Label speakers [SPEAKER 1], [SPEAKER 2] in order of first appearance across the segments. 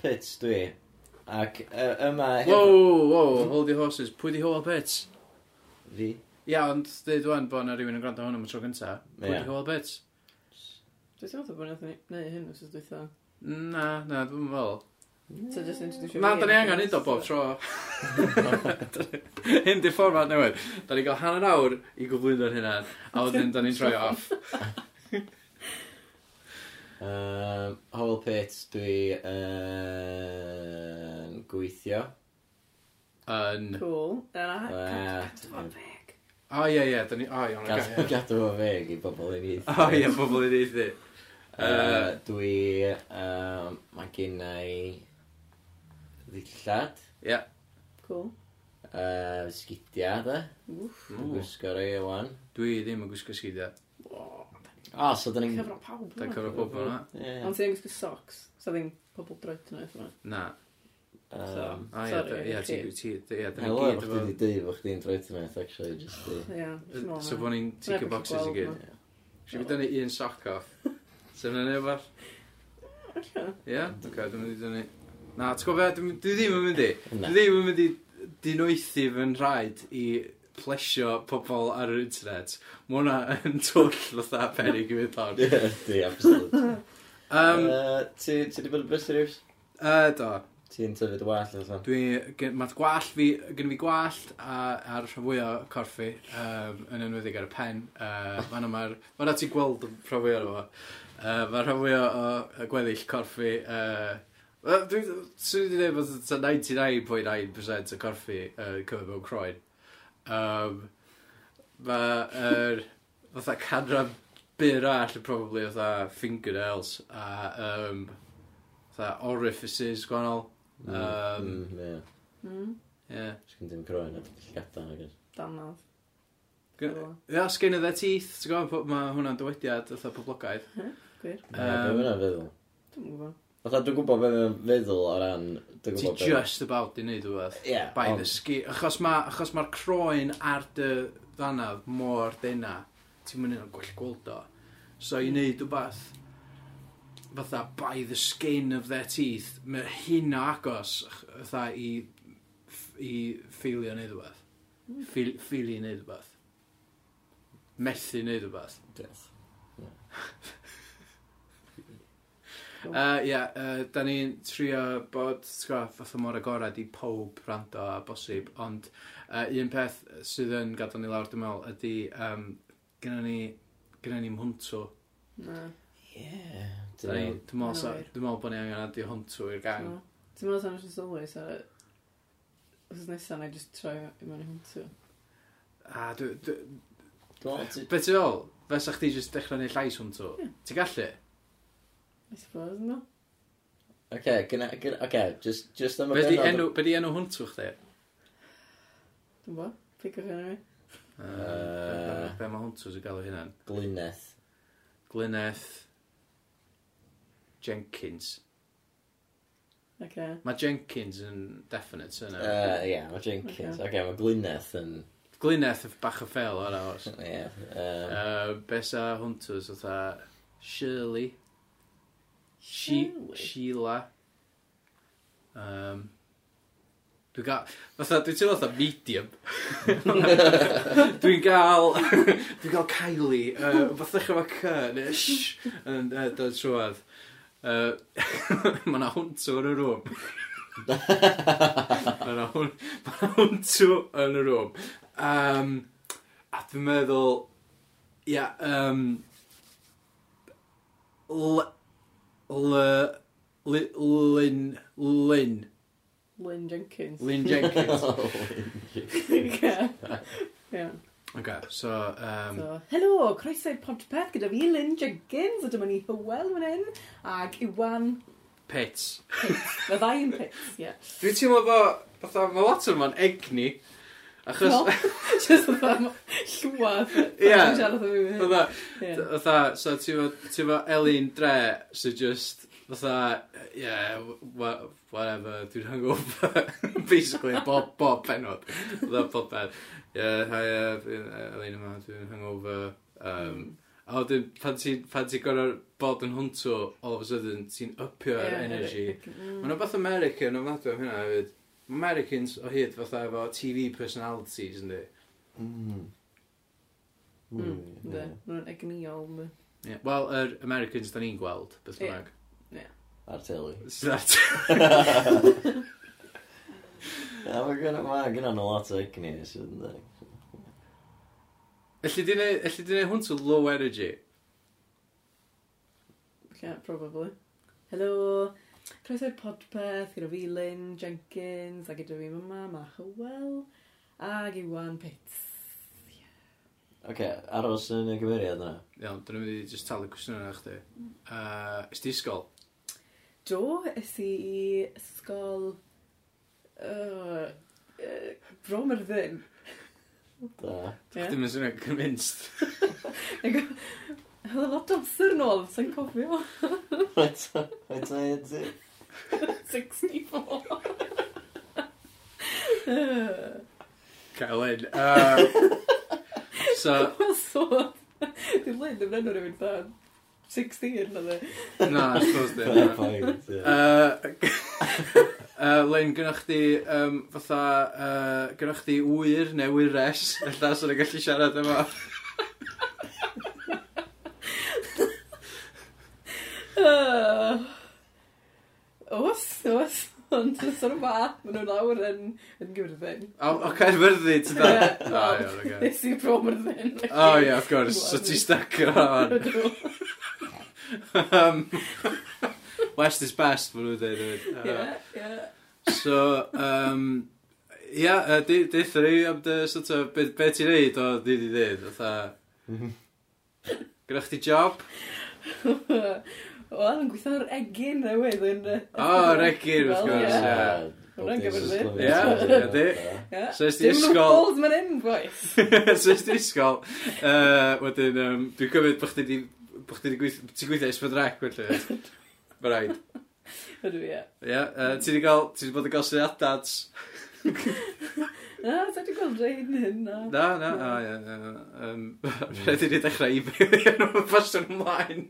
[SPEAKER 1] Pits dwi. Ac yy, yma... hefo-
[SPEAKER 2] Wow, wow, hold your horses. Pwy di Howell Pitts?
[SPEAKER 1] Fi.
[SPEAKER 2] Ia, ond dweud wan bod na rhywun yn gwrando hwn am y tro gynta. Pwy
[SPEAKER 1] Ie.
[SPEAKER 2] di Howell Pitts?
[SPEAKER 3] Dwi'n teimlo bod nath ni neu hyn os ydw i dda.
[SPEAKER 2] Na, na, dwi'n fel.
[SPEAKER 3] So just introduce
[SPEAKER 2] Na, da ni angen un o bob tro. Hyn di fformat newydd. Da ni gael hanner awr i gyflwyno'r hynna, a wedyn da ni'n troi off.
[SPEAKER 1] Um, Howell Pits dwi yn gweithio.
[SPEAKER 2] Yn...
[SPEAKER 3] Cool. Dyna,
[SPEAKER 1] Yy,
[SPEAKER 3] cadw fo'n feg.
[SPEAKER 2] O, ie, ie, da ni... O, iawn,
[SPEAKER 1] Gadw
[SPEAKER 2] oce, ie.
[SPEAKER 1] gadw fo feg i bobl yn eithaf.
[SPEAKER 2] O, ie, pobl i ddeithi.
[SPEAKER 1] Yy, dwi, um, mae gennau i ddillad,
[SPEAKER 2] Ie.
[SPEAKER 3] Cool.
[SPEAKER 1] uh, sgidia da,
[SPEAKER 3] Wff.
[SPEAKER 2] Mm.
[SPEAKER 1] dwi'n gwisgo rei o wan.
[SPEAKER 2] Dwi ddim yn gwisgo sgidia.
[SPEAKER 3] Wow, da ni'n
[SPEAKER 1] O, so dyn ni'n...
[SPEAKER 3] cyfro pawb.
[SPEAKER 2] Da
[SPEAKER 3] yma.
[SPEAKER 2] cyfro pob yna.
[SPEAKER 1] Ie,
[SPEAKER 3] Ond ti'n gwisgo socks. So ddim pobl droed yna eithaf.
[SPEAKER 2] Na.
[SPEAKER 1] yym,
[SPEAKER 2] O, ie,
[SPEAKER 3] Sorry,
[SPEAKER 2] da- ie, ti,
[SPEAKER 3] chi.
[SPEAKER 2] ti, ie, da ni
[SPEAKER 1] Helo,
[SPEAKER 2] gyd
[SPEAKER 1] efo chdi
[SPEAKER 2] efo...
[SPEAKER 1] wedi dweud bod chdi'n droi tynnu, actually, just i...
[SPEAKER 3] Ie.
[SPEAKER 2] So bod ni'n ticio boxes i gyd. Si fi dynnu un sock off. Sef yna'n efo? Ie? Oce, dwi'n mynd i dynnu... Na, ti'n gwybod beth, dwi ddim yn mynd i.
[SPEAKER 1] Na.
[SPEAKER 2] Dwi ddim yn mynd i dinoethi fy nhraed i plesio pobl ar yr internet. Mae hwnna yn twll fatha perig i fynd on.
[SPEAKER 1] Ie, Di, absolut.
[SPEAKER 2] Um,
[SPEAKER 1] Yy, Ti ti di bod yn bus rhywbeth?
[SPEAKER 2] uh, do,
[SPEAKER 1] Ti'n tyfyd wall allan?
[SPEAKER 2] dwi, gen- mae'r gwallt fi, gen i fi gwallt a, a'r rhan fwyaf o corffi um, yn enwedig ar y pen. Uh, Fanna mae'r, fanna ti'n gweld y rhan fwyaf o fo. Uh, mae'r rhan fwyaf o y gweddill corffi, uh, Wel, dwi- swn i wedi dweud bod ta 99.9% o corffi uh, cyfer mewn croen. Um, Mae'r fatha canran byr all yn probably fatha fingernails a um, fatha orifices gwahanol. Um,
[SPEAKER 1] Mm, Ie,
[SPEAKER 3] Hmm,
[SPEAKER 2] Yeah.
[SPEAKER 1] sgyn dim croen at llgada, I guess.
[SPEAKER 3] Danodd.
[SPEAKER 2] Ia, skin of their teeth, ti'n gwybod, mae hwnna'n dywediad, fatha poblogaidd.
[SPEAKER 3] Gwir.
[SPEAKER 1] Ie, be'
[SPEAKER 2] Yym,
[SPEAKER 1] ma' hwnna'n feddwl?
[SPEAKER 3] Dwi'n gwybod.
[SPEAKER 1] Fatha, dwi'n gwybod beth mae'n feddwl o ran... Dwi'n
[SPEAKER 2] Ti
[SPEAKER 1] gwybod be-
[SPEAKER 2] just about di wneud rhywbeth.
[SPEAKER 1] Ie,
[SPEAKER 2] By
[SPEAKER 1] ond-
[SPEAKER 2] the skin. Achos mae'r achos ma croen ar dy ddanadd mor dyna, ti'n mynd yn gwell gweld o. So i wneud rhywbeth fatha by the skin of their teeth, mae hynna agos ach- fatha i, i ffeilio wneud rhywbeth.
[SPEAKER 3] Hmm,
[SPEAKER 2] Ffeil- Ffeilio wneud rhywbeth. Methu wneud rhywbeth.
[SPEAKER 1] Death.
[SPEAKER 2] Uh, Ia, yeah, uh, da ni'n trio bod, ti'n gwybod, fath o mor agorad i pob rando a bosib, ond uh, un peth sydd yn gadael ni lawr, dwi'n meddwl, ydy um, gynna ni, gynna ni mhwntw.
[SPEAKER 3] Na.
[SPEAKER 1] Ie.
[SPEAKER 2] Da ni- Dwi'n meddwl sa-
[SPEAKER 3] Anwyr.
[SPEAKER 2] dwi'n meddwl bod ni angen adio hwntw i'r gang.
[SPEAKER 3] Ti'n meddwl sa'n eisiau sylwi, so... Os nesaf, na i just troi i mewn i hwntw.
[SPEAKER 2] A, dwi- dwi-
[SPEAKER 1] Dwi'n
[SPEAKER 2] be ti'n ôl? Fe sa chdi jyst dechrau neu llais hwntw?
[SPEAKER 3] Ie.
[SPEAKER 2] Ti'n gallu?
[SPEAKER 3] I suppose, no?
[SPEAKER 1] Oce, gyna, gyna, oce, just, just am y
[SPEAKER 2] Be di
[SPEAKER 1] bennod-
[SPEAKER 2] enw, be di enw hwntw chdi?
[SPEAKER 3] Dwi'n bod. Picwch yn ymwneud.
[SPEAKER 2] Uh,
[SPEAKER 1] Yy.
[SPEAKER 2] be mae hwntws yn galw hynna'n?
[SPEAKER 1] Glyneth.
[SPEAKER 2] Glyneth Jenkins.
[SPEAKER 3] Oce.
[SPEAKER 2] Mae Jenkins yn definite yna.
[SPEAKER 1] Yy, Ie, mae Jenkins. Oce, mae Glyneth yn...
[SPEAKER 2] Glyneth y bach o ffel o'r awr.
[SPEAKER 1] Ie. yym,
[SPEAKER 2] Uh, Besa Hunters oedd Shirley. She
[SPEAKER 3] Shirley?
[SPEAKER 2] Sheila. Um, Dwi'n gael, fatha, dwi'n teimlo fatha medium. dwi'n gael, dwi'n gael Kylie, uh, fatha chyfa cy, neu sh, yn uh, dod trwad. Uh, mae yna hwntw yn y rŵm. mae yna hwn- ma' 'na hwntw yn y rŵm. Um, a dwi'n meddwl, Ia, um, l, l, l, Lyn, Lyn,
[SPEAKER 3] Lynn Jenkins.
[SPEAKER 2] Lyn Jenkins.
[SPEAKER 1] Oh.
[SPEAKER 3] Oce. Ie.
[SPEAKER 2] okay, so, um,
[SPEAKER 3] So, helo, croeso i Podpeth gyda fi, Lynn Jenkins, a dyma ni Hywel fan hyn, ac Iwan,
[SPEAKER 2] pits.
[SPEAKER 3] y ddau yn pits, ie.
[SPEAKER 2] Dwi'n teimlo fo, fatha, mae lot o'n ma'n egni, achos,
[SPEAKER 3] No, Just oedd llwad.
[SPEAKER 2] Ie.
[SPEAKER 3] Ie.
[SPEAKER 2] fatha, fatha, so ti'n fo- ti'n fo Elin Dre, so just, fatha, yeah, wha- whatever, dwi'n hangover, basically, bob, bob penod, fatha, bob pen. Yeah, hi, uh, Elin yma, dwi'n hangover, um, A wedyn, pan ti'n ti gorau bod yn hwntw, all of a sudden, ti'n upio yr energy. Mae
[SPEAKER 3] Mm.
[SPEAKER 2] yna beth American ofnadw am hynna hefyd. Ma' Americans o hyd fatha efo TV personalities, yndi?
[SPEAKER 1] Mm.
[SPEAKER 3] Mm.
[SPEAKER 1] Mm,
[SPEAKER 3] Ynde,
[SPEAKER 1] ie.
[SPEAKER 3] ma' nhw'n egniol. ma'.
[SPEAKER 2] Yeah. Wel, yr Americans da ni'n gweld, beth
[SPEAKER 3] Ie.
[SPEAKER 2] bynnag.
[SPEAKER 1] Ar teli.
[SPEAKER 2] Sydd at...
[SPEAKER 1] Na, mae gynna, mae gynna nhw lot o egni, sydd yn dweud.
[SPEAKER 2] Elli di neud elli di neud hwn to low energy.
[SPEAKER 3] Yeah, probably. Helo, croeso i'r podpeth gyda fi Lynn Jenkins a gyda fi mama, ma Hywel ag Iwan Pits.
[SPEAKER 1] Oce, aros yn y gymeriad yna.
[SPEAKER 2] Iawn, dyn nhw'n mynd i just talu cwestiwn yna chdi.
[SPEAKER 3] Mm.
[SPEAKER 2] Uh, Ys di ysgol?
[SPEAKER 3] Do, ys i i ysgol... Uh, uh, bro mae'r ddyn.
[SPEAKER 1] Da.
[SPEAKER 2] Yeah.
[SPEAKER 3] Ie.
[SPEAKER 2] Dim yn swnio convinced.
[SPEAKER 3] Oedd e lot o amser nôl, sa'n cofio.
[SPEAKER 1] Eto, eto, eto.
[SPEAKER 3] 64. Yy.
[SPEAKER 2] Cael un. Uh, so,
[SPEAKER 3] Wel, so, dwi'n lyn, dwi'n rhan o'r rhywun da. 16 na dde.
[SPEAKER 2] na, I suppose di.
[SPEAKER 1] Fair point, ie.
[SPEAKER 2] Uh, Lein, gynnwch chdi um, fatha, uh, gynnwch chdi wyr neu wyres, ella sy'n ni'n gallu siarad efo.
[SPEAKER 3] Yy. Oes, oes. Ond yn sôn ba, maen nhw lawr yn, yn gyrddin.
[SPEAKER 2] O, o Caerfyrddi, ti'n da?
[SPEAKER 3] Ie.
[SPEAKER 2] O, iawn, oce.
[SPEAKER 3] Nes i bro myrddin.
[SPEAKER 2] O, ie, of course, so ti'n stuck ar hon. Um, West is best, maen nhw'n dweud.
[SPEAKER 3] Ie,
[SPEAKER 2] Uh,
[SPEAKER 3] ie.
[SPEAKER 2] So, um, ia, yy, di- deitha ni am dy, sort of, be, be ti'n neud o di di dweud, fatha. Gynnwch chdi job?
[SPEAKER 3] Wel, yn gweithio ar egin newydd yn... yy,
[SPEAKER 2] O, regyn, wrth
[SPEAKER 3] Wel,
[SPEAKER 2] gwrs,
[SPEAKER 3] ie.
[SPEAKER 2] ie.
[SPEAKER 3] Hwnna'n gyfyrddin.
[SPEAKER 2] Ie, ydy.
[SPEAKER 3] Ie.
[SPEAKER 2] So ys di
[SPEAKER 3] Dim
[SPEAKER 2] ysgol-
[SPEAKER 3] loopholes ma'n hyn, boys.
[SPEAKER 2] so ys di ysgol, uh, wedyn, um, dwi'n cymryd bod chdi di, bod chdi di gweithio, ti'n gweithio esbydrec, felly. Mae rhaid.
[SPEAKER 3] Ydw, ie.
[SPEAKER 2] Ie, uh, ti di gael, ti di bod yn gael syniadats.
[SPEAKER 3] Na, sa'n di gweld rhaid hyn, na.
[SPEAKER 2] Na, na, a ie, ie, yym, rhaid i ni dechrau i byw yn o'r ffasiwn ymlaen.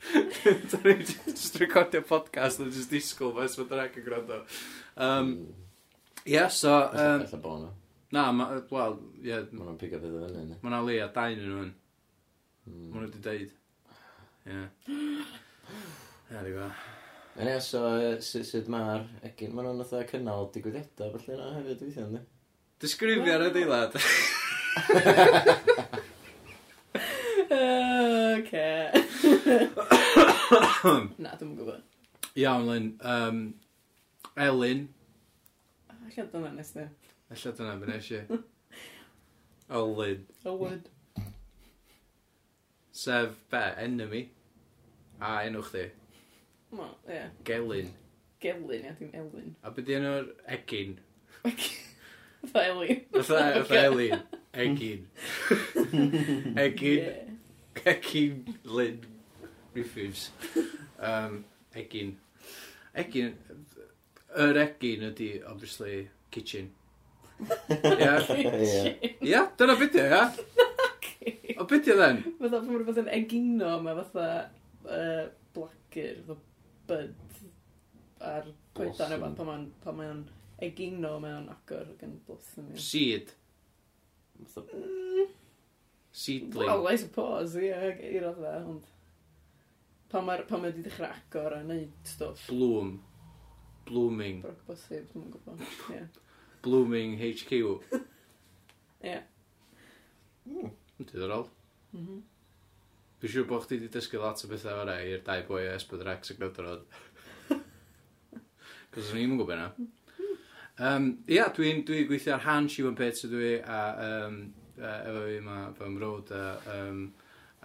[SPEAKER 2] Dwi'n ni just recordio podcast yn just disgwyl fo esbydrec yn gwrando. Um, Ie, so, um,
[SPEAKER 1] Ella bo nhw.
[SPEAKER 2] na, ma- wel, ie,
[SPEAKER 1] Mae nhw'n pigo fydd o fyny, ne?
[SPEAKER 2] ma' na le a dain yn hwn. Ma' nhw wedi deud. Ie. Ie, di gwa.
[SPEAKER 1] Yn ie, so, yy, su- sut mae'r egin... Mae nhw'n fatha cynnal digwyddiadau, felly na hefyd weithio, ynddi?
[SPEAKER 2] Disgrifio ar y deilad.
[SPEAKER 3] Yy, Oce. Na, dwi'n gwybod.
[SPEAKER 2] Iawn, Lyn. Um, Elin.
[SPEAKER 3] Alla dyna nes ni.
[SPEAKER 2] Alla dyna fe nes i. Elin.
[SPEAKER 3] Elwood.
[SPEAKER 2] Sef be? Enemy. A enw chdi.
[SPEAKER 3] Ma, ie.
[SPEAKER 2] Gelin.
[SPEAKER 3] Gelyn, ia, dim Elwyn.
[SPEAKER 2] A beth yna o'r egin?
[SPEAKER 3] Fa Elwyn.
[SPEAKER 2] Fatha fatha e Elin. Egin. Egin.
[SPEAKER 3] Ie.
[SPEAKER 2] Egin. Lyn. Refuse. Um, egin. Egin. Yr egin ydi, obviously, kitchen. Ie.
[SPEAKER 1] Ie.
[SPEAKER 2] Ia, dyna beth yw, ia. O beth yw then?
[SPEAKER 3] Fatha, pan mae'n fath yn egino, mae fatha yy, blagur, fatha bud ar coedan
[SPEAKER 1] Blossom.
[SPEAKER 3] neu beth, pan mae'n egino, mae'n agor gan blossom. ie.
[SPEAKER 2] Seed.
[SPEAKER 1] Fatha-
[SPEAKER 3] Mm,
[SPEAKER 2] Seedling.
[SPEAKER 3] Wel, I suppose, ie, i radda, ond... Pan mae pan mae wedi dechrau agor a wneud stwff,
[SPEAKER 2] Bloom. Blooming.
[SPEAKER 3] brog bosib, dwi'n gwybod. Ie.
[SPEAKER 2] Blooming HQ.
[SPEAKER 3] Ie.
[SPEAKER 1] Mm.
[SPEAKER 2] Diddorol.
[SPEAKER 3] Mhm.
[SPEAKER 2] Dwi'n siŵr bod chdi wedi dysgu lot o bethau fara i'r dau boi o Esbyd Rex y Gwydrod. Cos o'n i'n gwybod yna.
[SPEAKER 3] Hmm.
[SPEAKER 2] Um, ia, dwi'n dwi gweithio ar Han Siwan Pets ydw i, a um, uh, efo fi mae fy mrod a, um,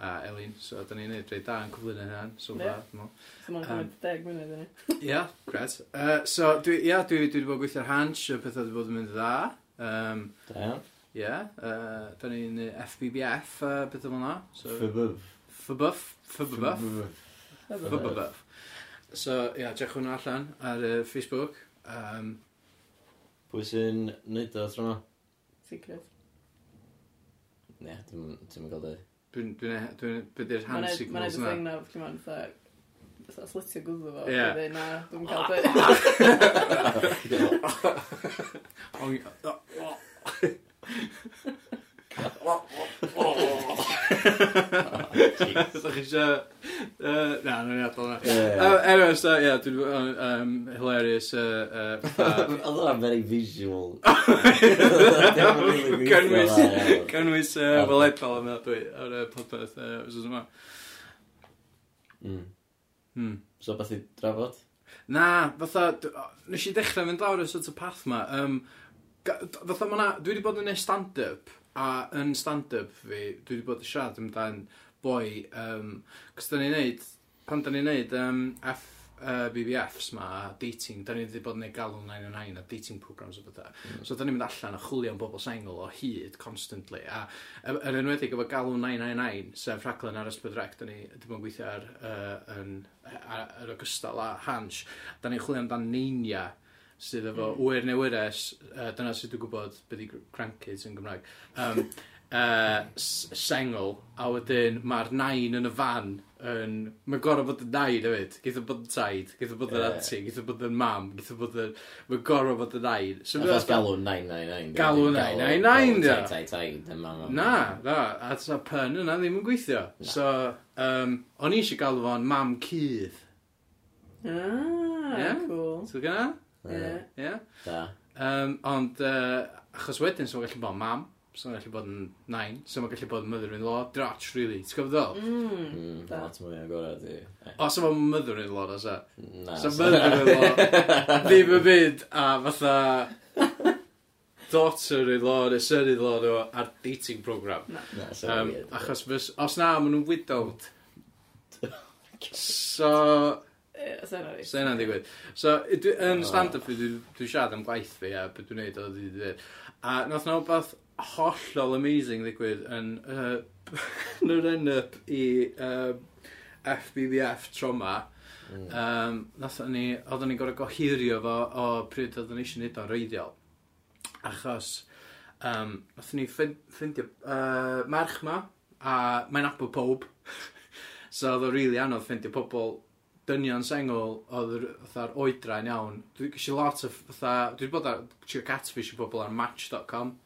[SPEAKER 2] a Elin, so da ni'n neud rhaid da yn cyflwyn yn hyn, so
[SPEAKER 3] Ie.
[SPEAKER 2] far, dwi'n meddwl.
[SPEAKER 3] So mae'n
[SPEAKER 2] Yym.
[SPEAKER 3] cymryd deg munud yna.
[SPEAKER 2] Ia, gret. Uh, so, dwi, ia, dwi dwi wedi bod yn gweithio ar Hans, y pethau wedi bod yn mynd yn dda. Um,
[SPEAKER 1] Da iawn.
[SPEAKER 2] ie, yeah, uh, da ni'n yy, FBBF, uh, pethau fel yna. So,
[SPEAKER 1] Fybyf.
[SPEAKER 2] FBBF, FBBF,
[SPEAKER 1] Fybyf.
[SPEAKER 2] FBBF. So, ia, yeah, dech hwnna allan ar uh, Facebook. Um,
[SPEAKER 1] Pwy sy'n neud o tro yma?
[SPEAKER 3] Secret.
[SPEAKER 1] Ne, ti'n mynd gael dweud.
[SPEAKER 2] Dwi'n... Dwi'n... Dwi'n... Be di'r hand
[SPEAKER 3] Mae'n
[SPEAKER 2] signals
[SPEAKER 3] edrych
[SPEAKER 2] yna?
[SPEAKER 3] yng Nghymru, dwi'n meddwl, fatha, fatha slitio gwddw fo.
[SPEAKER 2] Ie.
[SPEAKER 3] Yeah. Na, dwi'n cael dy...
[SPEAKER 2] O'n i- o- o- Ydych chi eisiau... yy, Na, nawn ni adael yna.
[SPEAKER 1] Oedd
[SPEAKER 2] Uh, anyway, so, ie, yeah, dwi'n... o'n- Um, hilarious... Uh, uh,
[SPEAKER 1] hwnna'n very visual.
[SPEAKER 2] Cynnwys... Cynnwys... Uh,
[SPEAKER 1] Ar-
[SPEAKER 2] Wel, edbal am dwi ar y podpeth uh, wsos yma.
[SPEAKER 1] Mm.
[SPEAKER 2] Hmm.
[SPEAKER 1] So beth i drafod?
[SPEAKER 2] Na, fatha, d- o, nes i dechrau fynd lawr y sort of path ma. Um, ga- d- fatha ma na, dwi wedi bod yn neud stand-up, a yn stand-up fi, dwi wedi bod yn siarad amdan boi, um, cos da ni'n neud, pan da ni'n neud um, F, uh, BBFs ma, a dating, da ni wedi bod yn neud galw 909 a dating programs o bethau. So da ni'n mynd allan a chwilio am bobl sengl o hyd, constantly, a y- yn enwedig efo galw 999, sef rhaglen ar ysbryd rec, da ni wedi bod yn gweithio ar, uh, yn, ar, ar ogystal a hans, da ni'n chwilio amdan neinia, sydd efo
[SPEAKER 1] Hmm.
[SPEAKER 2] mm. wyr neu wyres, uh, dyna sydd dwi'n gwybod beth i crankids yn Gymraeg, um, uh, sengl, a wedyn mae'r nain yn y fan yn... Mae'n gorau bod yn nain hefyd. Geitha bod yn taid, geitha bod yn
[SPEAKER 1] Ie.
[SPEAKER 2] anti, geitha bod yn mam, geitha bod yn... Mae'n gorau bod yn nain. So mae
[SPEAKER 1] Achos
[SPEAKER 2] fatha-
[SPEAKER 1] galw 999.
[SPEAKER 2] Galw
[SPEAKER 1] dio.
[SPEAKER 2] 999, dio.
[SPEAKER 1] Tai, tai, tai, mama.
[SPEAKER 2] Na, na, a ta pun yna ddim yn gweithio. So, um, o'n i eisiau galw fo'n mam cydd.
[SPEAKER 3] Ah,
[SPEAKER 2] Ie.
[SPEAKER 3] cool.
[SPEAKER 2] Ti'n gynna?
[SPEAKER 3] Ie.
[SPEAKER 1] Ie.
[SPEAKER 2] Ie.
[SPEAKER 1] Da.
[SPEAKER 2] Um, ond, uh, achos wedyn, so mae'n gallu bod mam, so mae'n gallu bod yn nain, so mae'n gallu bod yn mother-in-law, drach, really, ti'n gwybod ddol?
[SPEAKER 3] Mm.
[SPEAKER 1] Mm,
[SPEAKER 3] Da.
[SPEAKER 1] Lot mwy agorad i. Eh,
[SPEAKER 2] O, so mae'n mother-in-law, na, so.
[SPEAKER 1] Na.
[SPEAKER 2] Mm. e? Ah, So mother-in-law, ddim yn byd, a fatha daughter-in-law, neu son-in-law nhw, ar dating program.
[SPEAKER 1] Na, so
[SPEAKER 2] Um,
[SPEAKER 1] weird.
[SPEAKER 2] achos, fys, os na, maen nhw'n widowed. So,
[SPEAKER 3] Ie, so yna
[SPEAKER 2] so yna'n digwydd. So, i- dwi- yn
[SPEAKER 1] Oh.
[SPEAKER 2] stand-up fi, dwi- dwi'n siarad am gwaith fi a beth dwi'n neud o dwi wedi dweud. A nath na wbeth hollol amazing ddigwydd yn uh, yn y run-up i um, FBBF troma.
[SPEAKER 1] Mm.
[SPEAKER 2] Um, nath ni, oedden ni'n gorau gohirio fo o pryd oedden ni eisiau neud o'n reiddiol. Achos, um, nath ni ffin- ffindio uh, merch ma, a mae'n apod pob. so oedd o rili anodd ffindio pobl dynion sengol oedd yr- fatha'r oedra'n iawn. Dwi eisiau lot o fatha, dwi wedi bod ar trio catfish i pobl ar match.com.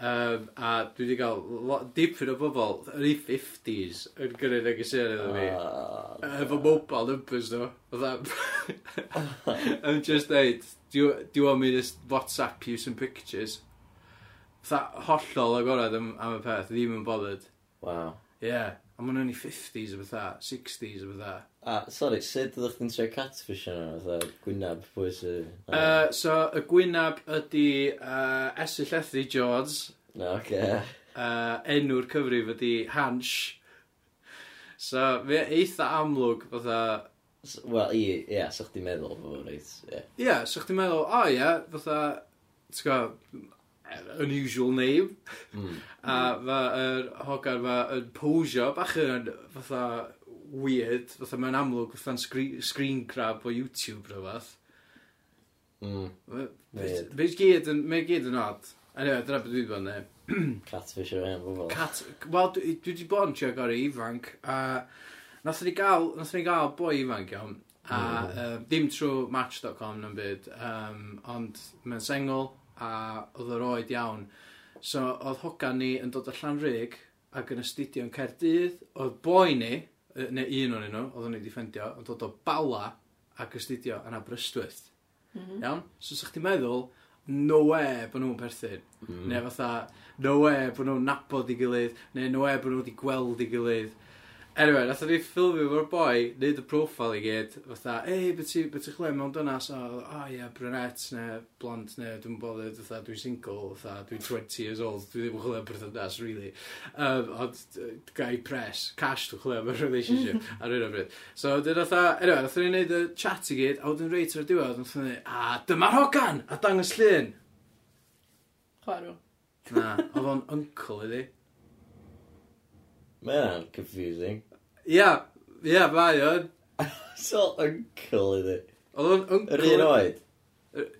[SPEAKER 2] Um, a dwi wedi cael lo- dipyn o bobl, yr 50s, yn gyrru negeseuon iddo fi.
[SPEAKER 1] Ah,
[SPEAKER 2] Efo mobile numbers nhw. Fatha... I'm just deud, do you, do you want me to s- WhatsApp you some pictures? Fatha hollol agorad am, am y peth, ddim yn bothered.
[SPEAKER 1] Waw.
[SPEAKER 2] Ie, yeah. a maen nhw'n i 50s o fatha, 60s o fatha.
[SPEAKER 1] A, sorry, sut ydych chi'n trio catfish yna? Fytha gwynab pwy sy...
[SPEAKER 2] Uh, so, y gwynab ydy uh, Esyll Ethu Jones,
[SPEAKER 1] Na, oce.
[SPEAKER 2] uh, enw'r cyfrif ydy Hansh. So, fe eitha amlwg fatha,
[SPEAKER 1] S- Wel, i, ie, sa chdi'n meddwl fo, reit, ie.
[SPEAKER 2] Ie, yeah, so chdi'n meddwl, o ie, yeah, fatha, ti'n gwybod, unusual name,
[SPEAKER 1] Mm.
[SPEAKER 2] a fa, yr hogar fa, yn posio, bach yn, fatha, weird, fatha mae'n amlwg, fatha'n screen, screen grab o YouTube rhywbeth.
[SPEAKER 1] Mm. Weird.
[SPEAKER 2] Fe'n gyd yn, mae'n gyd yn odd. Anyway, dyna beth dwi wedi bod yn neud.
[SPEAKER 1] Catfish o'r hen bobl.
[SPEAKER 2] Cat, wel, dwi dwi wedi bod yn trio gorau ifanc, a nath ni gael, nath ni gael boi ifanc iawn, a
[SPEAKER 1] Mm.
[SPEAKER 2] mm. dim trwy match.com na'n byd, um, ond mae'n sengl, a oedd yr oed iawn. So, oedd hogan ni yn dod allan rig, ac yn astudio yn Cerdydd, oedd boi ni, yy, neu un o'n nhw, oedd o'n ei ffendio, yn dod o Bala ac astudio yn Aberystwyth.
[SPEAKER 3] Mhm.
[SPEAKER 2] Iawn? So, sa'ch ti'n meddwl, no way bod nhw'n perthyn. Mm.
[SPEAKER 1] Mm.
[SPEAKER 2] Neu fatha, no way bod nhw'n nabod i gilydd, neu no way bod nhw wedi gweld i gilydd. Anyway, nath ni ffilmio fo'r boi, neud y profile i gyd, fatha, ei, beth ti'n ti chlem mewn dynas? A, o, oh, ie, yeah, brunet, neu blond, neu dwi'n bothered, fatha, dwi'n single, fatha, dwi'n 20 years old, dwi ddim yn chlem perthynas, really. Um, ond, yy, gai pres, cash dwi'n chlem yn relationship, ar un o bryd. So, dyn fatha, anyway, nath ni neud y chat i gyd, a wedyn reit ar y diwedd, nath ni, a dyma'r hogan, a dangos llun.
[SPEAKER 3] Chwarw.
[SPEAKER 2] Na, oedd o'n uncle iddi.
[SPEAKER 1] Mae hynna'n confusing.
[SPEAKER 2] Ia, ia, mae o'n.
[SPEAKER 1] So uncle iddi.
[SPEAKER 2] Oedd o'n uncle...
[SPEAKER 1] Yr un oed.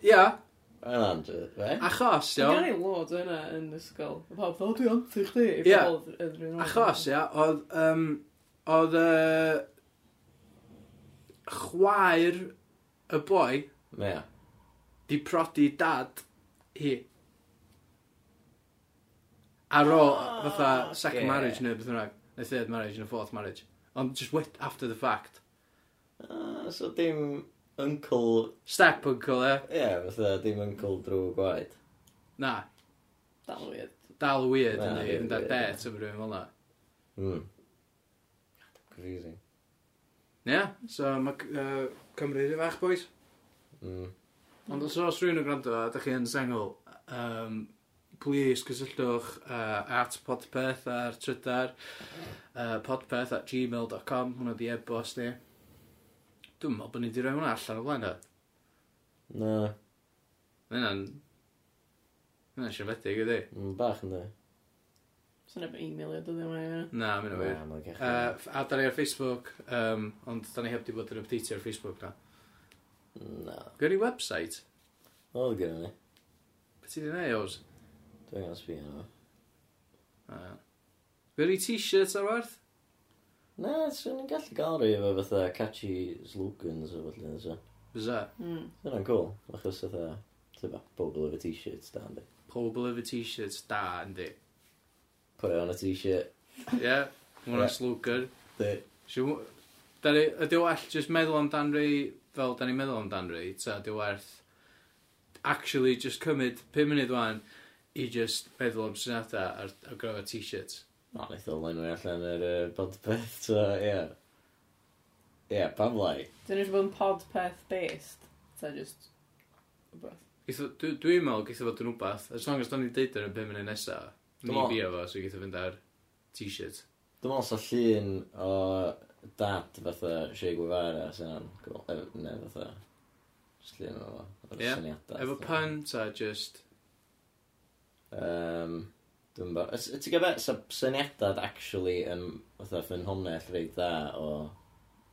[SPEAKER 2] Ia,
[SPEAKER 1] Yna'n dweud, fe?
[SPEAKER 2] Achos,
[SPEAKER 3] Dwi'n gan
[SPEAKER 2] iawn,
[SPEAKER 3] i lot o yna yn ysgol. Y pawb, o, dwi'n anti chdi. i
[SPEAKER 2] Ie.
[SPEAKER 3] pobol yn rhywun oed.
[SPEAKER 2] achos, ia, oedd, um, oedd, uh, chwaer y boi
[SPEAKER 1] Ia.
[SPEAKER 2] di prodi dad hi. Ar ôl, fatha, second
[SPEAKER 1] Ie.
[SPEAKER 2] marriage neu beth bynnag, neu third marriage neu fourth marriage. Ond just wait after the fact.
[SPEAKER 1] Ah, So dim uncle...
[SPEAKER 2] Step uncle, ie.
[SPEAKER 1] Ie, fatha dim uncle drwy gwaed.
[SPEAKER 2] Na,
[SPEAKER 3] Dal weird.
[SPEAKER 2] dal weird
[SPEAKER 1] Na,
[SPEAKER 2] yn ei,
[SPEAKER 1] weird,
[SPEAKER 2] yn dar
[SPEAKER 1] weird,
[SPEAKER 2] det yn rhywun fel na.
[SPEAKER 1] Hmm. Confusing.
[SPEAKER 2] Ie, so mae uh, Cymru rhywun fach, boys.
[SPEAKER 1] Hmm.
[SPEAKER 2] Ond os oes rhywun yn gwrando a ydych chi yn sengl, um, please cysylltwch uh, at podpeth ar trydar, uh, podpeth at gmail.com, hwnna di e-bost ni. Dwi'n meddwl bod ni wedi rhoi hwnna allan o flaen o.
[SPEAKER 1] Na,
[SPEAKER 2] Mae hynna'n... Mae hynna'n siarfedig ydi.
[SPEAKER 1] mm, bach yn dweud.
[SPEAKER 3] Sa'n efo e-mail i o dyddi yma yna.
[SPEAKER 2] Na, mae'n
[SPEAKER 1] Na,
[SPEAKER 2] wir.
[SPEAKER 1] mae'n cech.
[SPEAKER 2] Uh, a da ni ar Facebook, um, ond da ni heb di bod yn updatio ar Facebook na.
[SPEAKER 1] Na.
[SPEAKER 2] Gwyd ni website?
[SPEAKER 1] Oedd gyda ni.
[SPEAKER 2] Beth i di neud, Ows?
[SPEAKER 1] Dwi'n gael sbio yna.
[SPEAKER 2] Uh, Gwyd ni t-shirts ar werth?
[SPEAKER 1] Na, swn i'n gallu gael rhyw efo fatha catchy slogans o falle nes o.
[SPEAKER 2] Fysa,
[SPEAKER 3] Mm.
[SPEAKER 1] Dyna'n cool, achos fatha, tyfa, bobl efo t-shirts da, ynddi.
[SPEAKER 2] pobl efo t-shirts da, yndi.
[SPEAKER 1] Put it on a t-shirt.
[SPEAKER 2] Ie, mae hwnna'n
[SPEAKER 1] Ie.
[SPEAKER 2] slwgr.
[SPEAKER 1] Di.
[SPEAKER 2] Siw- da ni- Ydy o well just meddwl amdan rei fel da ni'n meddwl amdan rei, ta ydy o werth actually just cymryd 5 munud wan i just meddwl am syniadau ar, ar grofa t-shirts.
[SPEAKER 1] O, wnaeth o lenwi allan yr uh, podpeth, so, ie. Yeah. Ie, yeah, pam lai.
[SPEAKER 3] Dwi'n eisiau bod yn podpeth based. Ta just... Rhywbeth.
[SPEAKER 2] Geitho- dwi- Dwi'n meddwl geitha fod yn wbath, as long as da ni'n deud yn y 5 munud nesaf,
[SPEAKER 1] Dwi'n
[SPEAKER 2] ni
[SPEAKER 1] meddwl-
[SPEAKER 2] fi efo, so geitha fynd ar t-shirt.
[SPEAKER 1] Dwi'n meddwl sa llun o dad fatha Che Guevara, sy'n an, cool. E, ne, fatha, just llun o fo, o'r
[SPEAKER 2] Ie,
[SPEAKER 1] syniadau.
[SPEAKER 2] Efo pun, ta just...
[SPEAKER 1] Um, dwi'n bo. Y- y- Ti'n gwybod, sa syniadad actually yn, fatha, ffynhonnell reit dda o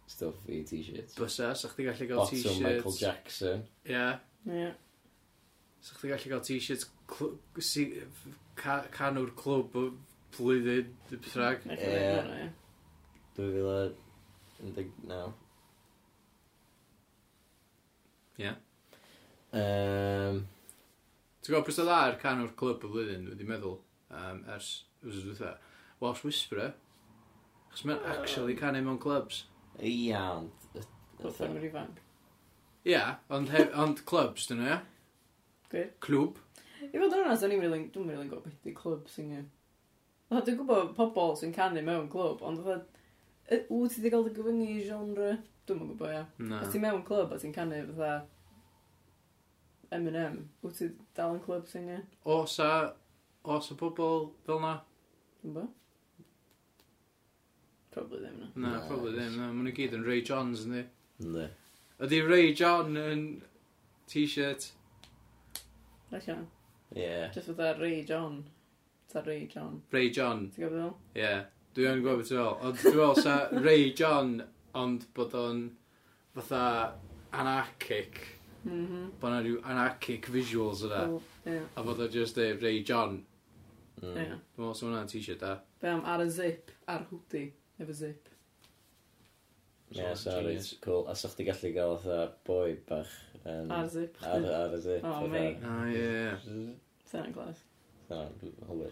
[SPEAKER 1] stuff i t-shirts.
[SPEAKER 2] Bysa, sa chdi gallu gael
[SPEAKER 1] Bottom Michael
[SPEAKER 2] t-shirts.
[SPEAKER 1] Jackson.
[SPEAKER 2] Ie.
[SPEAKER 3] Ie.
[SPEAKER 2] So chdi gallu cael t-shirts cl- si- ca- canwr clwb o blwyddyn, y bethau.
[SPEAKER 3] Neu
[SPEAKER 1] Ie.
[SPEAKER 3] chyfrif hwnna, ie.
[SPEAKER 1] 2019.
[SPEAKER 2] Ie.
[SPEAKER 1] Um,
[SPEAKER 2] Ti'n gwybod pwysau dda ar canwr clwb o blwyddyn, wedi meddwl, um, ers wrth dwytha. Welsh Whisperer. Chos mae'n actually canu mewn clubs.
[SPEAKER 1] Ia, ond... y-
[SPEAKER 3] Wrth
[SPEAKER 1] fatha-
[SPEAKER 3] yn ifanc.
[SPEAKER 2] Ia, yeah, ond, he- ond clubs, dyn nhw, ia?
[SPEAKER 3] Good.
[SPEAKER 2] Clwb.
[SPEAKER 3] I fod yn honest, o'n i'n rili, dwi'n rili'n gwybod beth di clwb sy'n yw. Fatha, dwi'n gwybod pobl sy'n canu mewn clwb, ond fatha, y- wyt ti wedi cael dy gyfyngu i genre? Dwi'n yn gwybod, ia.
[SPEAKER 2] Na.
[SPEAKER 3] Os ti mewn clwb a ti'n canu fatha M&M, wyt ti dal yn clwb sy'n yw?
[SPEAKER 2] Os a... Os a pobl fel na?
[SPEAKER 3] Dwi'n bo? Probably ddim na.
[SPEAKER 2] Na,
[SPEAKER 1] Na,
[SPEAKER 2] probably
[SPEAKER 1] oes.
[SPEAKER 2] ddim. Na, maen nhw gyd yn Ray Johns, ynddi.
[SPEAKER 1] Ynddi.
[SPEAKER 2] Ydy Ray John yn t-shirt?
[SPEAKER 3] Na sian.
[SPEAKER 1] Ie.
[SPEAKER 3] Just fatha Ray John. Ta Ray John.
[SPEAKER 2] Ray John.
[SPEAKER 3] Ti'n gwybod fel?
[SPEAKER 2] Ie, yeah, dwi yn gwybod beth i fel. Ond dwi'n meddwl sa Ray John, ond bod o'n fatha anarchic.
[SPEAKER 3] Mhm.
[SPEAKER 2] Bod na rhyw anarchic visuals yna.
[SPEAKER 3] Wel, Ie.
[SPEAKER 2] A bod o'n just deud Ray John.
[SPEAKER 1] Mm.
[SPEAKER 3] Ie.
[SPEAKER 2] Dwi'n meddwl sa hwnna'n t-shirt da.
[SPEAKER 3] Be am ar y zip, ar hwdi, efo zip.
[SPEAKER 1] Ie,
[SPEAKER 2] So,
[SPEAKER 1] sorry,
[SPEAKER 2] genius.
[SPEAKER 1] cool. A sa'ch ti gallu gael fatha boi bach yn...
[SPEAKER 3] Ar zip.
[SPEAKER 1] Mm. Ar,
[SPEAKER 3] chdi.
[SPEAKER 1] ar y zip.
[SPEAKER 3] O,
[SPEAKER 1] fatha.
[SPEAKER 3] mate.
[SPEAKER 2] Ah, ie, ie.
[SPEAKER 3] Sa'n glas.
[SPEAKER 1] Na, dw- hwyr.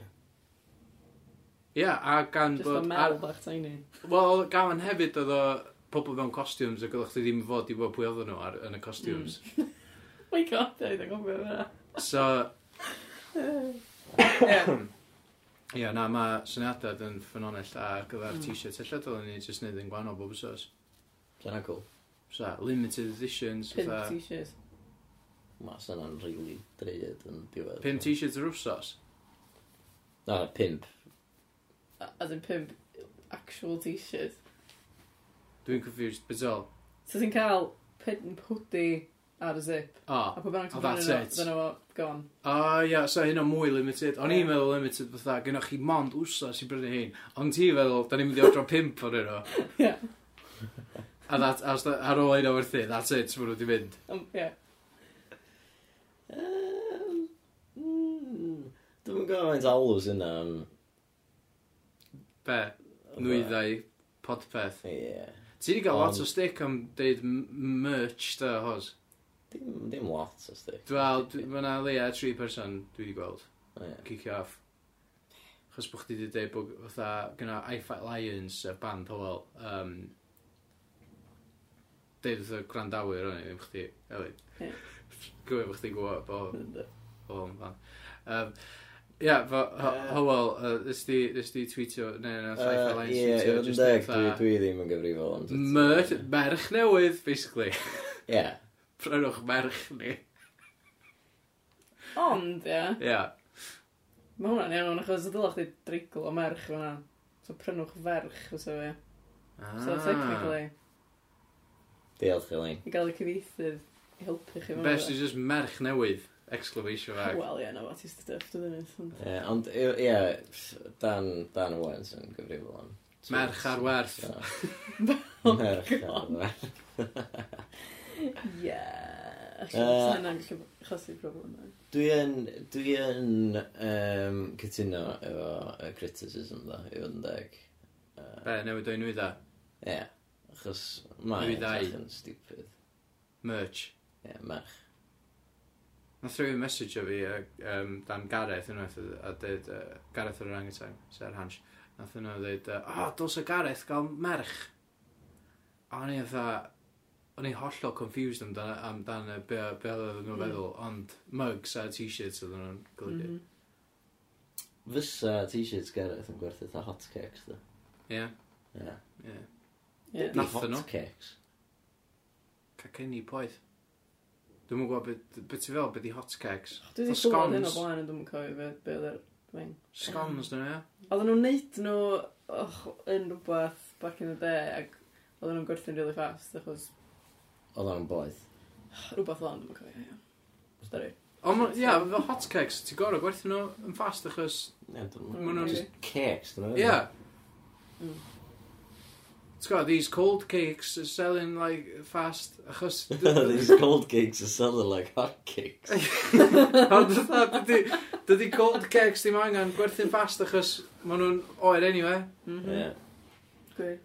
[SPEAKER 2] Ie, a gan
[SPEAKER 3] Just a
[SPEAKER 2] bod...
[SPEAKER 3] mel bach tiny.
[SPEAKER 2] ar- Wel, gan hefyd oedd o pobl mewn costumes a gyda'ch chi ddim yn fod i bod pwy oedden nhw ar, yn y costumes.
[SPEAKER 3] My god, dwi ddim yn gwybod hwnna.
[SPEAKER 2] So,
[SPEAKER 3] Ie.
[SPEAKER 2] ie, na, mae syniadau yn ffynonell ar gyfer t-shirt. Ella dylen ni jyst wneud yn gwahanol bob wsos.
[SPEAKER 1] Dyna cool.
[SPEAKER 2] So, limited editions.
[SPEAKER 3] Pimp
[SPEAKER 2] fatha-
[SPEAKER 3] t-shirts.
[SPEAKER 1] Ma, syna'n rili dreid yn diwedd.
[SPEAKER 2] Pimp t-shirts yr wrsos?
[SPEAKER 1] Na, pimp.
[SPEAKER 3] A- As in pimp actual t-shirts.
[SPEAKER 2] Dwi'n confused, beth ol?
[SPEAKER 3] So ti'n cael pimp hwdi ar y zip.
[SPEAKER 2] O,
[SPEAKER 3] A pob bynnag
[SPEAKER 2] Oh,
[SPEAKER 3] ti'n
[SPEAKER 2] that's
[SPEAKER 3] cael
[SPEAKER 2] it.
[SPEAKER 3] dyna fo, gone.
[SPEAKER 2] o ia, so hyn o mwy limited. O'n i'n
[SPEAKER 3] Ie.
[SPEAKER 2] meddwl limited fatha, gynnwch chi mond wrsos i brynu hyn. Ond ti'n feddwl, da ni'n mynd i odro pimp o'r hyn o.
[SPEAKER 3] Ie.
[SPEAKER 2] A that, as the, ar ôl hyn o werthu, that's it, swn nhw wedi mynd.
[SPEAKER 3] Yym, Ie.
[SPEAKER 1] Yy, Mm, yn gwybod faint alws yna am...
[SPEAKER 2] Be? Nwyddau podpeth.
[SPEAKER 1] Ie.
[SPEAKER 2] Ti wedi cael lot
[SPEAKER 1] Ond-
[SPEAKER 2] o stick am deud m- merch da, hos.
[SPEAKER 1] Dim, dim lot o stick.
[SPEAKER 2] Wel, mae yna leia tri person dwi wedi gweld.
[SPEAKER 1] Ie.
[SPEAKER 2] Cicio off. Chos bych chi wedi dweud bod fatha gyna I Fight Lions, y band hoel. Um, Deud fatha grandawyr o'n i, ddim chdi, Eli.
[SPEAKER 3] Ie.
[SPEAKER 2] Gwyd bych chdi'n gwybod bod
[SPEAKER 1] Yndw.
[SPEAKER 2] hoel yn fan. Um, Ia, fo,
[SPEAKER 1] Yy.
[SPEAKER 2] hoel, ys di ys di tweetio, neu na, I Fight
[SPEAKER 1] Yy,
[SPEAKER 2] Lions
[SPEAKER 1] Ie, i
[SPEAKER 2] tweetio,
[SPEAKER 1] fod yn
[SPEAKER 2] jyst
[SPEAKER 1] deg, dwi,
[SPEAKER 2] fatha,
[SPEAKER 1] dwi ddim yn gyfrifol am...
[SPEAKER 2] Merch, merch newydd, basically.
[SPEAKER 1] Ie.
[SPEAKER 2] Prynwch merch ni.
[SPEAKER 3] Ond, ia,
[SPEAKER 2] Ia.
[SPEAKER 3] mae hwnna'n iawn, achos y dylach chi dreigl o merch fyna. So prynwch ferch, os o fi. So,
[SPEAKER 2] Ah.
[SPEAKER 3] technically,
[SPEAKER 1] Diolch, Elin.
[SPEAKER 3] i gael y cyfeithydd i helpu chi. mewn
[SPEAKER 2] Best
[SPEAKER 3] iddo.
[SPEAKER 2] is just merch newydd, exclamation mark.
[SPEAKER 3] Wel, ie, na, what is the stuff, dwi'n dweud.
[SPEAKER 1] Ie, ond, i- ie, Dan, Dan Owens yn gyfrifol am...
[SPEAKER 2] Merch ar werth.
[SPEAKER 1] Ie. Merch ar werth.
[SPEAKER 3] Ie.
[SPEAKER 1] Yy.
[SPEAKER 3] Alla, hynna'n gallu chosi problem.
[SPEAKER 1] Dwi yn, dwi yn um, cytuno efo y criticism dda, i fod yn deg. Yy,
[SPEAKER 2] Be, newid o'n nwydda.
[SPEAKER 1] Ie, achos mae'n
[SPEAKER 2] Nwy ddau.
[SPEAKER 1] edrych yn stupid.
[SPEAKER 2] Merch.
[SPEAKER 1] Ie, merch.
[SPEAKER 2] Nath rhywun message o fi yy, um, dan Gareth unwaith a- a dweud, uh, Gareth o'r orangutan, Ser Hans. Nath yna dweud, uh, o, dos o Gareth gael merch. A o'n i fatha, o'n i hollol confused amdan, amdan y be, be oedd nhw'n
[SPEAKER 3] Mm.
[SPEAKER 2] feddwl, ond mugs a t-shirts oedd nhw'n golygu.
[SPEAKER 3] Mhm.
[SPEAKER 1] Fysa t-shirts Gareth yn gwerthu ta hotcakes dda.
[SPEAKER 2] Ie,
[SPEAKER 1] Ie.
[SPEAKER 2] ie.
[SPEAKER 3] Ie.
[SPEAKER 2] Na. Nathon nhw.
[SPEAKER 1] Hotcakes.
[SPEAKER 2] Cacen i poeth. Dwi'n mwyn gwybod beth be ti'n fel, beth i hotcakes.
[SPEAKER 3] Dwi wedi
[SPEAKER 2] Fatha
[SPEAKER 3] sylwad hyn o
[SPEAKER 2] scones.
[SPEAKER 3] blaen ond dwi'm yn cofio beth be oedd yr wing.
[SPEAKER 2] Scones dyn nhw, ie?
[SPEAKER 3] Oedden nhw'n neud nhw och, yn rhywbeth back in the day ac oedden nhw'n gwerthu'n really fast achos
[SPEAKER 1] Oedd o'n boeth.
[SPEAKER 3] rhywbeth fel 'na, dwi'm yn cofio. ie. Stori.
[SPEAKER 2] Ond, ma- ie, fel hotcakes, ti'n gorau gwerthu nhw yn fast achos...
[SPEAKER 1] Ie,
[SPEAKER 3] Ma'
[SPEAKER 1] dwi'n
[SPEAKER 3] nhw'n-
[SPEAKER 1] just cakes dda.
[SPEAKER 2] Ie. Yeah.
[SPEAKER 3] Mm.
[SPEAKER 2] It's got these cold cakes are selling like fast achos...
[SPEAKER 1] These cold cakes are selling like hot cakes.
[SPEAKER 2] Ond fatha, dydy- dydy cold cakes ddim angen gwerthu'n fast achos maen nhw'n oer anyway.
[SPEAKER 3] Mhm.
[SPEAKER 1] Ie.
[SPEAKER 3] Gwir.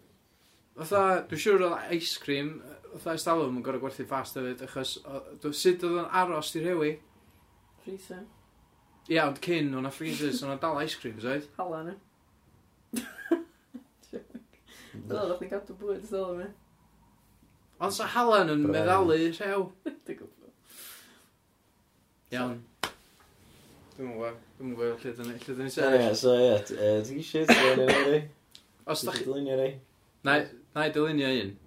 [SPEAKER 2] Fatha, dwi'n siŵr oedd ice cream, fatha estalwm yn gorau gwerthu'n fast hefyd achos o- dw- sut oedd o'n aros i'r hewi.
[SPEAKER 3] Freezer.
[SPEAKER 2] Ie, ond cyn o'na freezers, o'na dal ice creams, oed?
[SPEAKER 3] Hala nhw. Dyla ddod ni'n gadw bwyd dyla mi.
[SPEAKER 2] Ond sa Helen yn
[SPEAKER 1] Braidd.
[SPEAKER 2] meddalu rhew.
[SPEAKER 3] Dwi'n gwybod.
[SPEAKER 2] Iawn. Dwi'n mwyn gwybod, dwi'n mwyn gwybod lle dyn ni, lle dyn ni
[SPEAKER 1] So
[SPEAKER 2] sefyll.
[SPEAKER 1] ie, Oh, so ie, t- uh, yy, t-shirts dda ni wedi.
[SPEAKER 2] Os da chi...
[SPEAKER 1] Dylunio ni.
[SPEAKER 2] Na na i dylunio un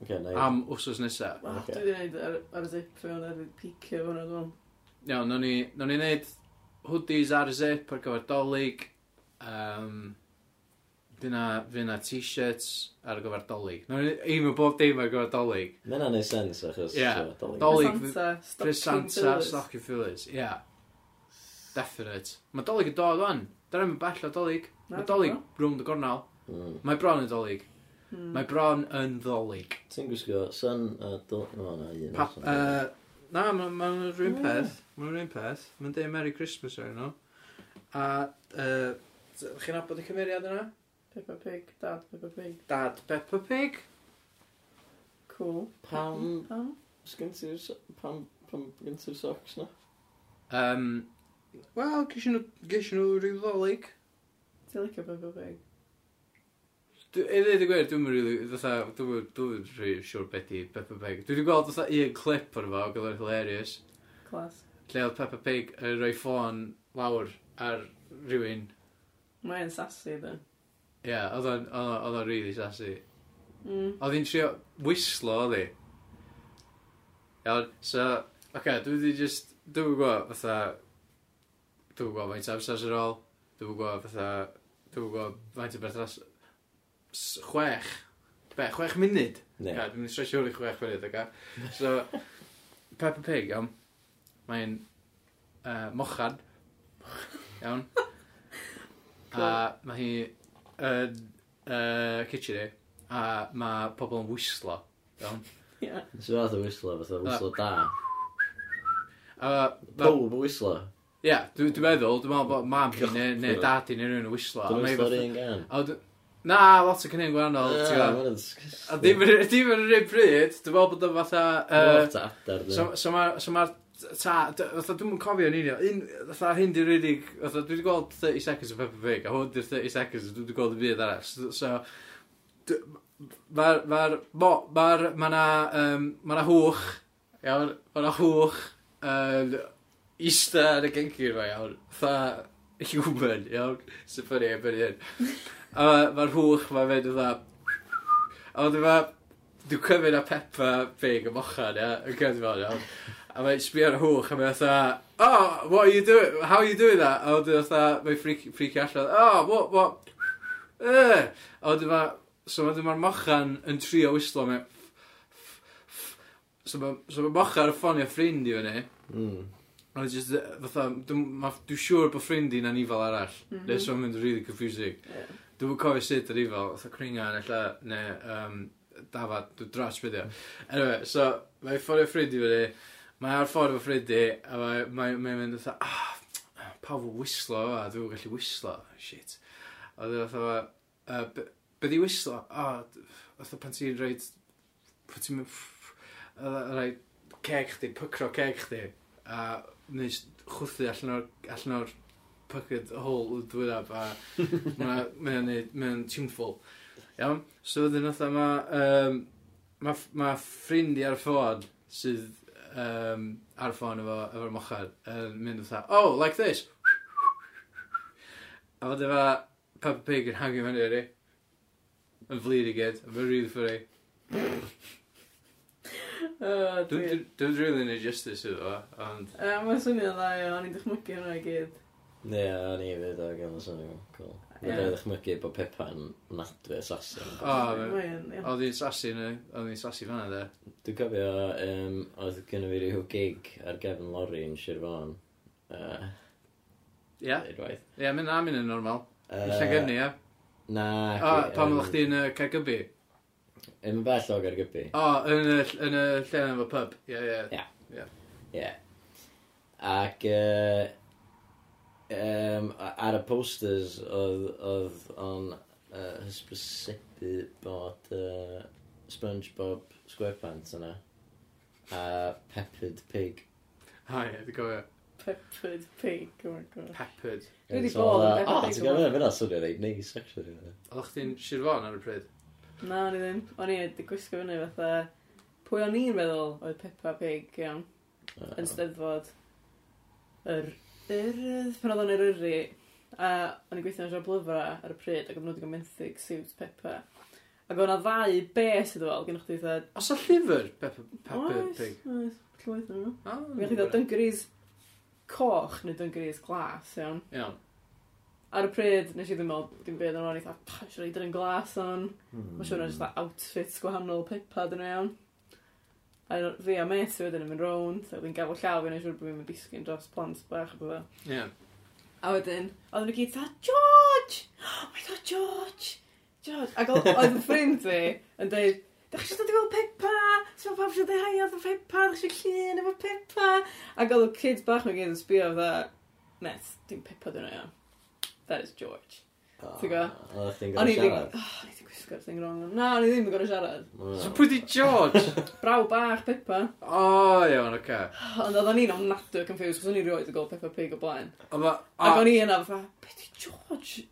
[SPEAKER 1] Oce, na i.
[SPEAKER 2] am wsos nesa.
[SPEAKER 3] Ah,
[SPEAKER 1] Ocê.
[SPEAKER 3] Dwi wedi gwneud ar, ar y zip fe hwnna, dwi wedi picio fe hwnna dwi'n
[SPEAKER 2] Iawn, no ni, no ni neud hoodies ar y zip ar gyfer dolyg. Um, Fyna, fyna t-shirts ar gyfer dolyg. No ni aim o bob dim ar gyfer dolyg.
[SPEAKER 1] Mae hynna'n neud sens achos...
[SPEAKER 2] Ie.
[SPEAKER 1] so, dolyg.
[SPEAKER 2] Dolyg.
[SPEAKER 3] Santa,
[SPEAKER 2] Presanta, stocking fillers, ie. Yeah. Definite. Mae dolyg yn dod o'n. Dyna mi'n bell o dolyg. Mae dolyg rhwng y gornal.
[SPEAKER 1] Mm.
[SPEAKER 2] Mae bron yn dolyg.
[SPEAKER 3] Mae
[SPEAKER 2] Mae bron yn ddolig.
[SPEAKER 1] Ti'n gwisgo sun a dolyg... O, na, un.
[SPEAKER 2] Pa- uh,
[SPEAKER 1] allan.
[SPEAKER 2] yy, Na, mae'n ma yr un
[SPEAKER 3] Mm.
[SPEAKER 2] peth. Mae'n yr un peth. Mae'n dweud Merry Christmas ar nhw. A, uh, chi'n abod y cymeriad yna?
[SPEAKER 3] Peppa Pig, Dad Peppa Pig.
[SPEAKER 2] Dad Peppa Pig.
[SPEAKER 3] Cool.
[SPEAKER 1] Pam...
[SPEAKER 3] Pam?
[SPEAKER 1] Sgyn ti'r... so- Pam... Pam gen ti'r socks na?
[SPEAKER 2] Um, Wel, gesio nhw, gesio nhw rhyw ddolig.
[SPEAKER 3] Ti'n licio Peppa Pig?
[SPEAKER 2] Dw- I ddweud y gwir, dwi'n mynd rili, fatha, dwi'n mynd rili siwr beth i Peppa Pig. Dwi wedi gweld fatha un clip o'r fo, gyda'r hilarious,
[SPEAKER 3] Clas.
[SPEAKER 2] lle oedd Peppa Pig yn rhoi ffôn lawr ar rhywun.
[SPEAKER 3] Mae'n sassy, dyn.
[SPEAKER 2] Ie, yeah, oedd o'n- oedd o'n oedd o'n rili sassy.
[SPEAKER 3] Mm.
[SPEAKER 2] Oedd hi'n trio whislo, oedd hi. Iawn, so, oce, okay, dwi wedi just, dwi'n gwybod, fatha, dwi'n gwybod faint o amser ar ôl, dwi'n gwybod, fatha, dwi'n gwybod faint o beth ras, s- chwech, be, chwech munud.
[SPEAKER 1] Ne.
[SPEAKER 2] Ie, yeah, dwi'n mynd i stresio hwn i chwech munud, oce. So, Peppa Pig, iawn, mae'n uh, mochan, iawn, a mae hi yn uh, kitchen i, a mae pobl yn whislo, iawn.
[SPEAKER 3] Ie.
[SPEAKER 1] So fath o whistler, fatha whistler da.
[SPEAKER 2] A, ma-
[SPEAKER 1] Pob whistler.
[SPEAKER 2] Ie, dwi- dwi'n meddwl, dwi'n meddwl bod mam hi neu, neu dad hi neu rhywun yn wislo. a
[SPEAKER 1] Dwi'n
[SPEAKER 2] mae hi
[SPEAKER 1] meddwl stori
[SPEAKER 2] fatha-
[SPEAKER 1] yn gan.
[SPEAKER 2] a wedyn- Na, lot o cynnig gwahanol, ti'n
[SPEAKER 1] Ah,
[SPEAKER 2] gwbod. A dim yn dim yn yr un bryd, dwi'n meddwl bod o fatha... yy,
[SPEAKER 1] Lot o adar, dwi.
[SPEAKER 2] So so ma- so ma'r ta, d- fatha dwi'm yn cofio yn union, un, fatha hyn di'r unig, fatha dwi wedi gweld 30 seconds o Peppa Pig, a hwn di'r 30 seconds, dwi wedi gweld y byd arall, so, so d- ma'r, ma'r, mo- ma'r, ma' na, um, ma' na hwch, iawn, ma' na hwch, um, eista yn y gencir ma, iawn, fatha human, iawn, sy'n ffynnu, yn hyn. A ma- ma'r hwch, ma'n mynd fatha, a wedyn ma, dwi'n cymryd a Peppa Pig y mochan, ia, yn cymryd fel, iawn. A mae'n sbio ar y hwch, a mae'n fatha, oh, what are you doing, how are you doing that? A wedyn fatha, mae'n ffrici ffrici allan, oh, what, what, uh. A wedyn ma, so wedyn ma'r mochan yn trio wislo, mae'n, so mae so ma mochan yn ffonio ffrind i fyny,
[SPEAKER 1] Mm.
[SPEAKER 2] a mae'n just, yy, fatha, dwi'n ma- dwi'n siŵr bod ffrind i'n anifal arall, mm
[SPEAKER 3] Mhm.
[SPEAKER 2] -hmm. neu so'n mynd yn really confusing.
[SPEAKER 3] Ie.
[SPEAKER 2] Dwi'n cofio sut yr ifo, fatha cringan ella, neu um, dafad, dwi'n dros byddio. Anyway, so, mae ffordd o ffrind i fyny, mae ar ffordd o ffrind i, a mae'n mae, mae mae'n mynd fatha, ah, pawb o wislo yma, dwi'n gallu wislo, shit. A dwi'n fatha, "Uh, be- be di wislo? O, d- fatha pan ti'n rhaid, pan ti'n mynd, rhaid ceg chdi, pycro ceg chdi, a wnes chwthu allan o'r, allan o'r pocket hole dwi'n ab, a mae'n neud, mae'n tuneful. Iawn, so wedyn otha mae, um, mae ma ffrind i ar y ffôn sydd um, ar y ffôn efo, efo'r mochad yn mynd otha, oh, like this. A fod efo Peppa Pig yn hangio fyny i yn flir i gyd, a mae'n rili ffyrru.
[SPEAKER 3] O, dwi.
[SPEAKER 2] Dwi'n rili neud justice iddo, fo, ond...
[SPEAKER 3] Yy, Mae'n swnio dda, iawn, o'n i'n dychmygu hwnna i gyd.
[SPEAKER 1] Ie, o'n i fyd o gael y swnio. Cool.
[SPEAKER 3] Ie.
[SPEAKER 1] Mae'n dychmygu bod Peppa'n nadwy assassin.
[SPEAKER 2] O, fe-
[SPEAKER 3] Mae'n, iawn.
[SPEAKER 2] Oedd hi'n sassy yn y... Oedd hi'n sassy fanna, de.
[SPEAKER 1] Dwi'n cofio, um, oedd gynnu fi rhyw gig ar gefn lori yn Sir Fôn. Uh,
[SPEAKER 2] Ie,
[SPEAKER 1] Unwaith.
[SPEAKER 2] ie, mynd am yn normal.
[SPEAKER 1] Yy,
[SPEAKER 2] Yn Llangefni, ie.
[SPEAKER 1] Na.
[SPEAKER 2] O, pan oedd chdi yn y Caergybi?
[SPEAKER 1] Yn bell o Gargybi.
[SPEAKER 2] O, yn y, yn y lle yna efo pub. Ie, ie.
[SPEAKER 1] Ie. Ac uh, um, ar y posters oedd, oedd o'n uh, hysbysebu bod uh, SpongeBob SquarePants yna a Peppered Pig.
[SPEAKER 2] O, ie, dwi'n gofio.
[SPEAKER 3] Peppered pig, oh my god.
[SPEAKER 2] Peppered.
[SPEAKER 3] Dwi 'di
[SPEAKER 1] So oedd
[SPEAKER 3] bod yn
[SPEAKER 1] o- O,
[SPEAKER 3] Peppered Pig
[SPEAKER 1] ti'n
[SPEAKER 3] o
[SPEAKER 1] gwybod,
[SPEAKER 3] blaen.
[SPEAKER 1] fyna swnio reit neis, actually.
[SPEAKER 2] Oedd chdi'n Sirfon ar y pryd?
[SPEAKER 3] Na, o'n i ddim. O'n i wedi gwisgo fyny fatha... Pwy o'n i'n meddwl oedd Peppa Pig, iawn, yn
[SPEAKER 1] Yy,
[SPEAKER 3] steddfod. Yr... Yr... Pan oedd o'n yr yri. A o'n i'n gweithio yn siarad blyfra ar y pryd, ac o'n nhw wedi gomenthyg siwt Peppa. Ac o'n a ddau bes iddo fel, gennych chi dda...
[SPEAKER 2] Os o llyfr Peppa Peppered Pig?
[SPEAKER 3] Oes, llwyth o'n nhw.
[SPEAKER 2] O,
[SPEAKER 3] Gennych chi dda dyngrys coch neu dyngrys glas, iawn.
[SPEAKER 2] Iawn.
[SPEAKER 3] Ar y pryd, nes i ddim meddwl dim byd yn o'n i dda, pa, siwr i dyn yn glas o'n... Mae siwr o'n just outfits gwahanol Peppa dyn nhw iawn. A fi a met i wedyn yn mynd rownd, a wedyn gafel llaw fi'n siŵr bod fi'n mynd disgyn dros plant bach o bydda.
[SPEAKER 2] Ie.
[SPEAKER 3] A wedyn, oedden nhw gyd dda, George! Oh my god, George! George! Ac o- oedd yn ffrind fi yn dweud, Dach chi eisiau dod i weld Peppa? Sio pawb eisiau dweud hai oedd y Peppa? Dach chi eisiau llun efo Peppa? Ac oedd y kids bach nhw gyd yn sbio dda, Met, dim Peppa dyn nhw iawn. That is George.
[SPEAKER 1] Hmm.
[SPEAKER 3] Ti'n gwbo?
[SPEAKER 1] Oedd chdi'n
[SPEAKER 3] O'n i
[SPEAKER 1] gael
[SPEAKER 3] ddim...
[SPEAKER 1] siarad.
[SPEAKER 3] Oh, o'n i ddim gwisgo'r thing wrong. Na, o'n i ddim yn gorau siarad.
[SPEAKER 2] So pwy di George?
[SPEAKER 3] Braw bach Peppa.
[SPEAKER 2] O, iawn, oce.
[SPEAKER 3] Ond oedden ni'n ofnadwy o confused, cos o'n i rioed yn gweld Peppa Pig o blaen.
[SPEAKER 2] Ond ma-
[SPEAKER 3] Ac
[SPEAKER 2] o-
[SPEAKER 3] o'n i yna fatha, be di George?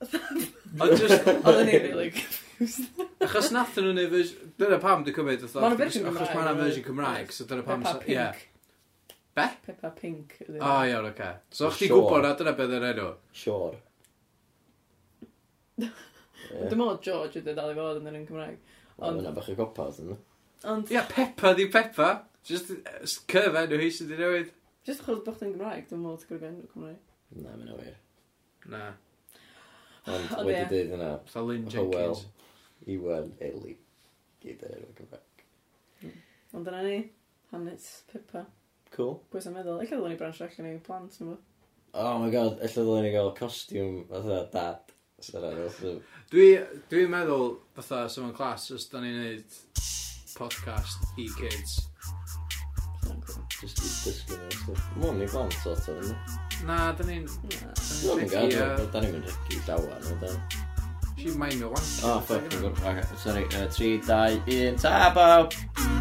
[SPEAKER 2] Ond just...
[SPEAKER 3] Oedden ni'n really confused.
[SPEAKER 2] Achos nath nhw'n ei version... Dyna pam dwi'n cymryd, oedd...
[SPEAKER 3] Ma' 'na version Gymraeg,
[SPEAKER 2] Achos mae'n
[SPEAKER 3] right?
[SPEAKER 2] version Cymraeg, so dyna pam...
[SPEAKER 3] Peppa
[SPEAKER 2] sa- ie.
[SPEAKER 3] Pink.
[SPEAKER 2] Be?
[SPEAKER 3] Peppa Pink. ydi.
[SPEAKER 2] O, iawn, oce. So
[SPEAKER 1] Sure.
[SPEAKER 2] chdi gwybod na dyna beth yr enw?
[SPEAKER 1] Sior.
[SPEAKER 3] Dwi'n meddwl George ydy dal i fod yn yr un Cymraeg. ond-
[SPEAKER 1] Yna bach o gopath yna.
[SPEAKER 3] Ond,
[SPEAKER 2] Ie, Peppa di Peppa. Just uh, s- curve enw hi sydd wedi newid.
[SPEAKER 3] jyst achos bod chdi'n Gymraeg, dwi'n meddwl ti'n gwrdd gan Cymraeg.
[SPEAKER 1] Na, mae'n awyr.
[SPEAKER 2] Na.
[SPEAKER 1] Ond
[SPEAKER 3] Ond
[SPEAKER 1] wedi
[SPEAKER 3] ie.
[SPEAKER 1] dweud yna,
[SPEAKER 2] Fatha Lynn
[SPEAKER 1] Hywel,
[SPEAKER 2] Jenkins.
[SPEAKER 1] Iwan, Eli. Gyd yr enw Cymraeg.
[SPEAKER 3] Ond dyna ni, hanes Peppa.
[SPEAKER 1] Cool.
[SPEAKER 3] Pwy sy'n meddwl, eich ddylwn ni bransio allan i plant yn fwy.
[SPEAKER 1] Oh my god, ella ddylen ni gael costiwm fatha dad. Sarah, fatha...
[SPEAKER 2] Dwi, dwi'n meddwl, fatha, sy'n ma'n clas, os da ni'n neud podcast i kids.
[SPEAKER 3] Sa'n cwm.
[SPEAKER 1] Just i dysgu nhw stuff. Mw'n ni fan sort of, ynddo.
[SPEAKER 2] Na, dyn ni'n...
[SPEAKER 1] Mw'n ni'n gael,
[SPEAKER 2] Ie.
[SPEAKER 1] da ni'n mynd i dawa nhw, da.
[SPEAKER 2] uh, She mind me one.
[SPEAKER 1] Ah, O, ffordd, sorry, 3, 2, 1, ta, bawb!
[SPEAKER 3] Bye.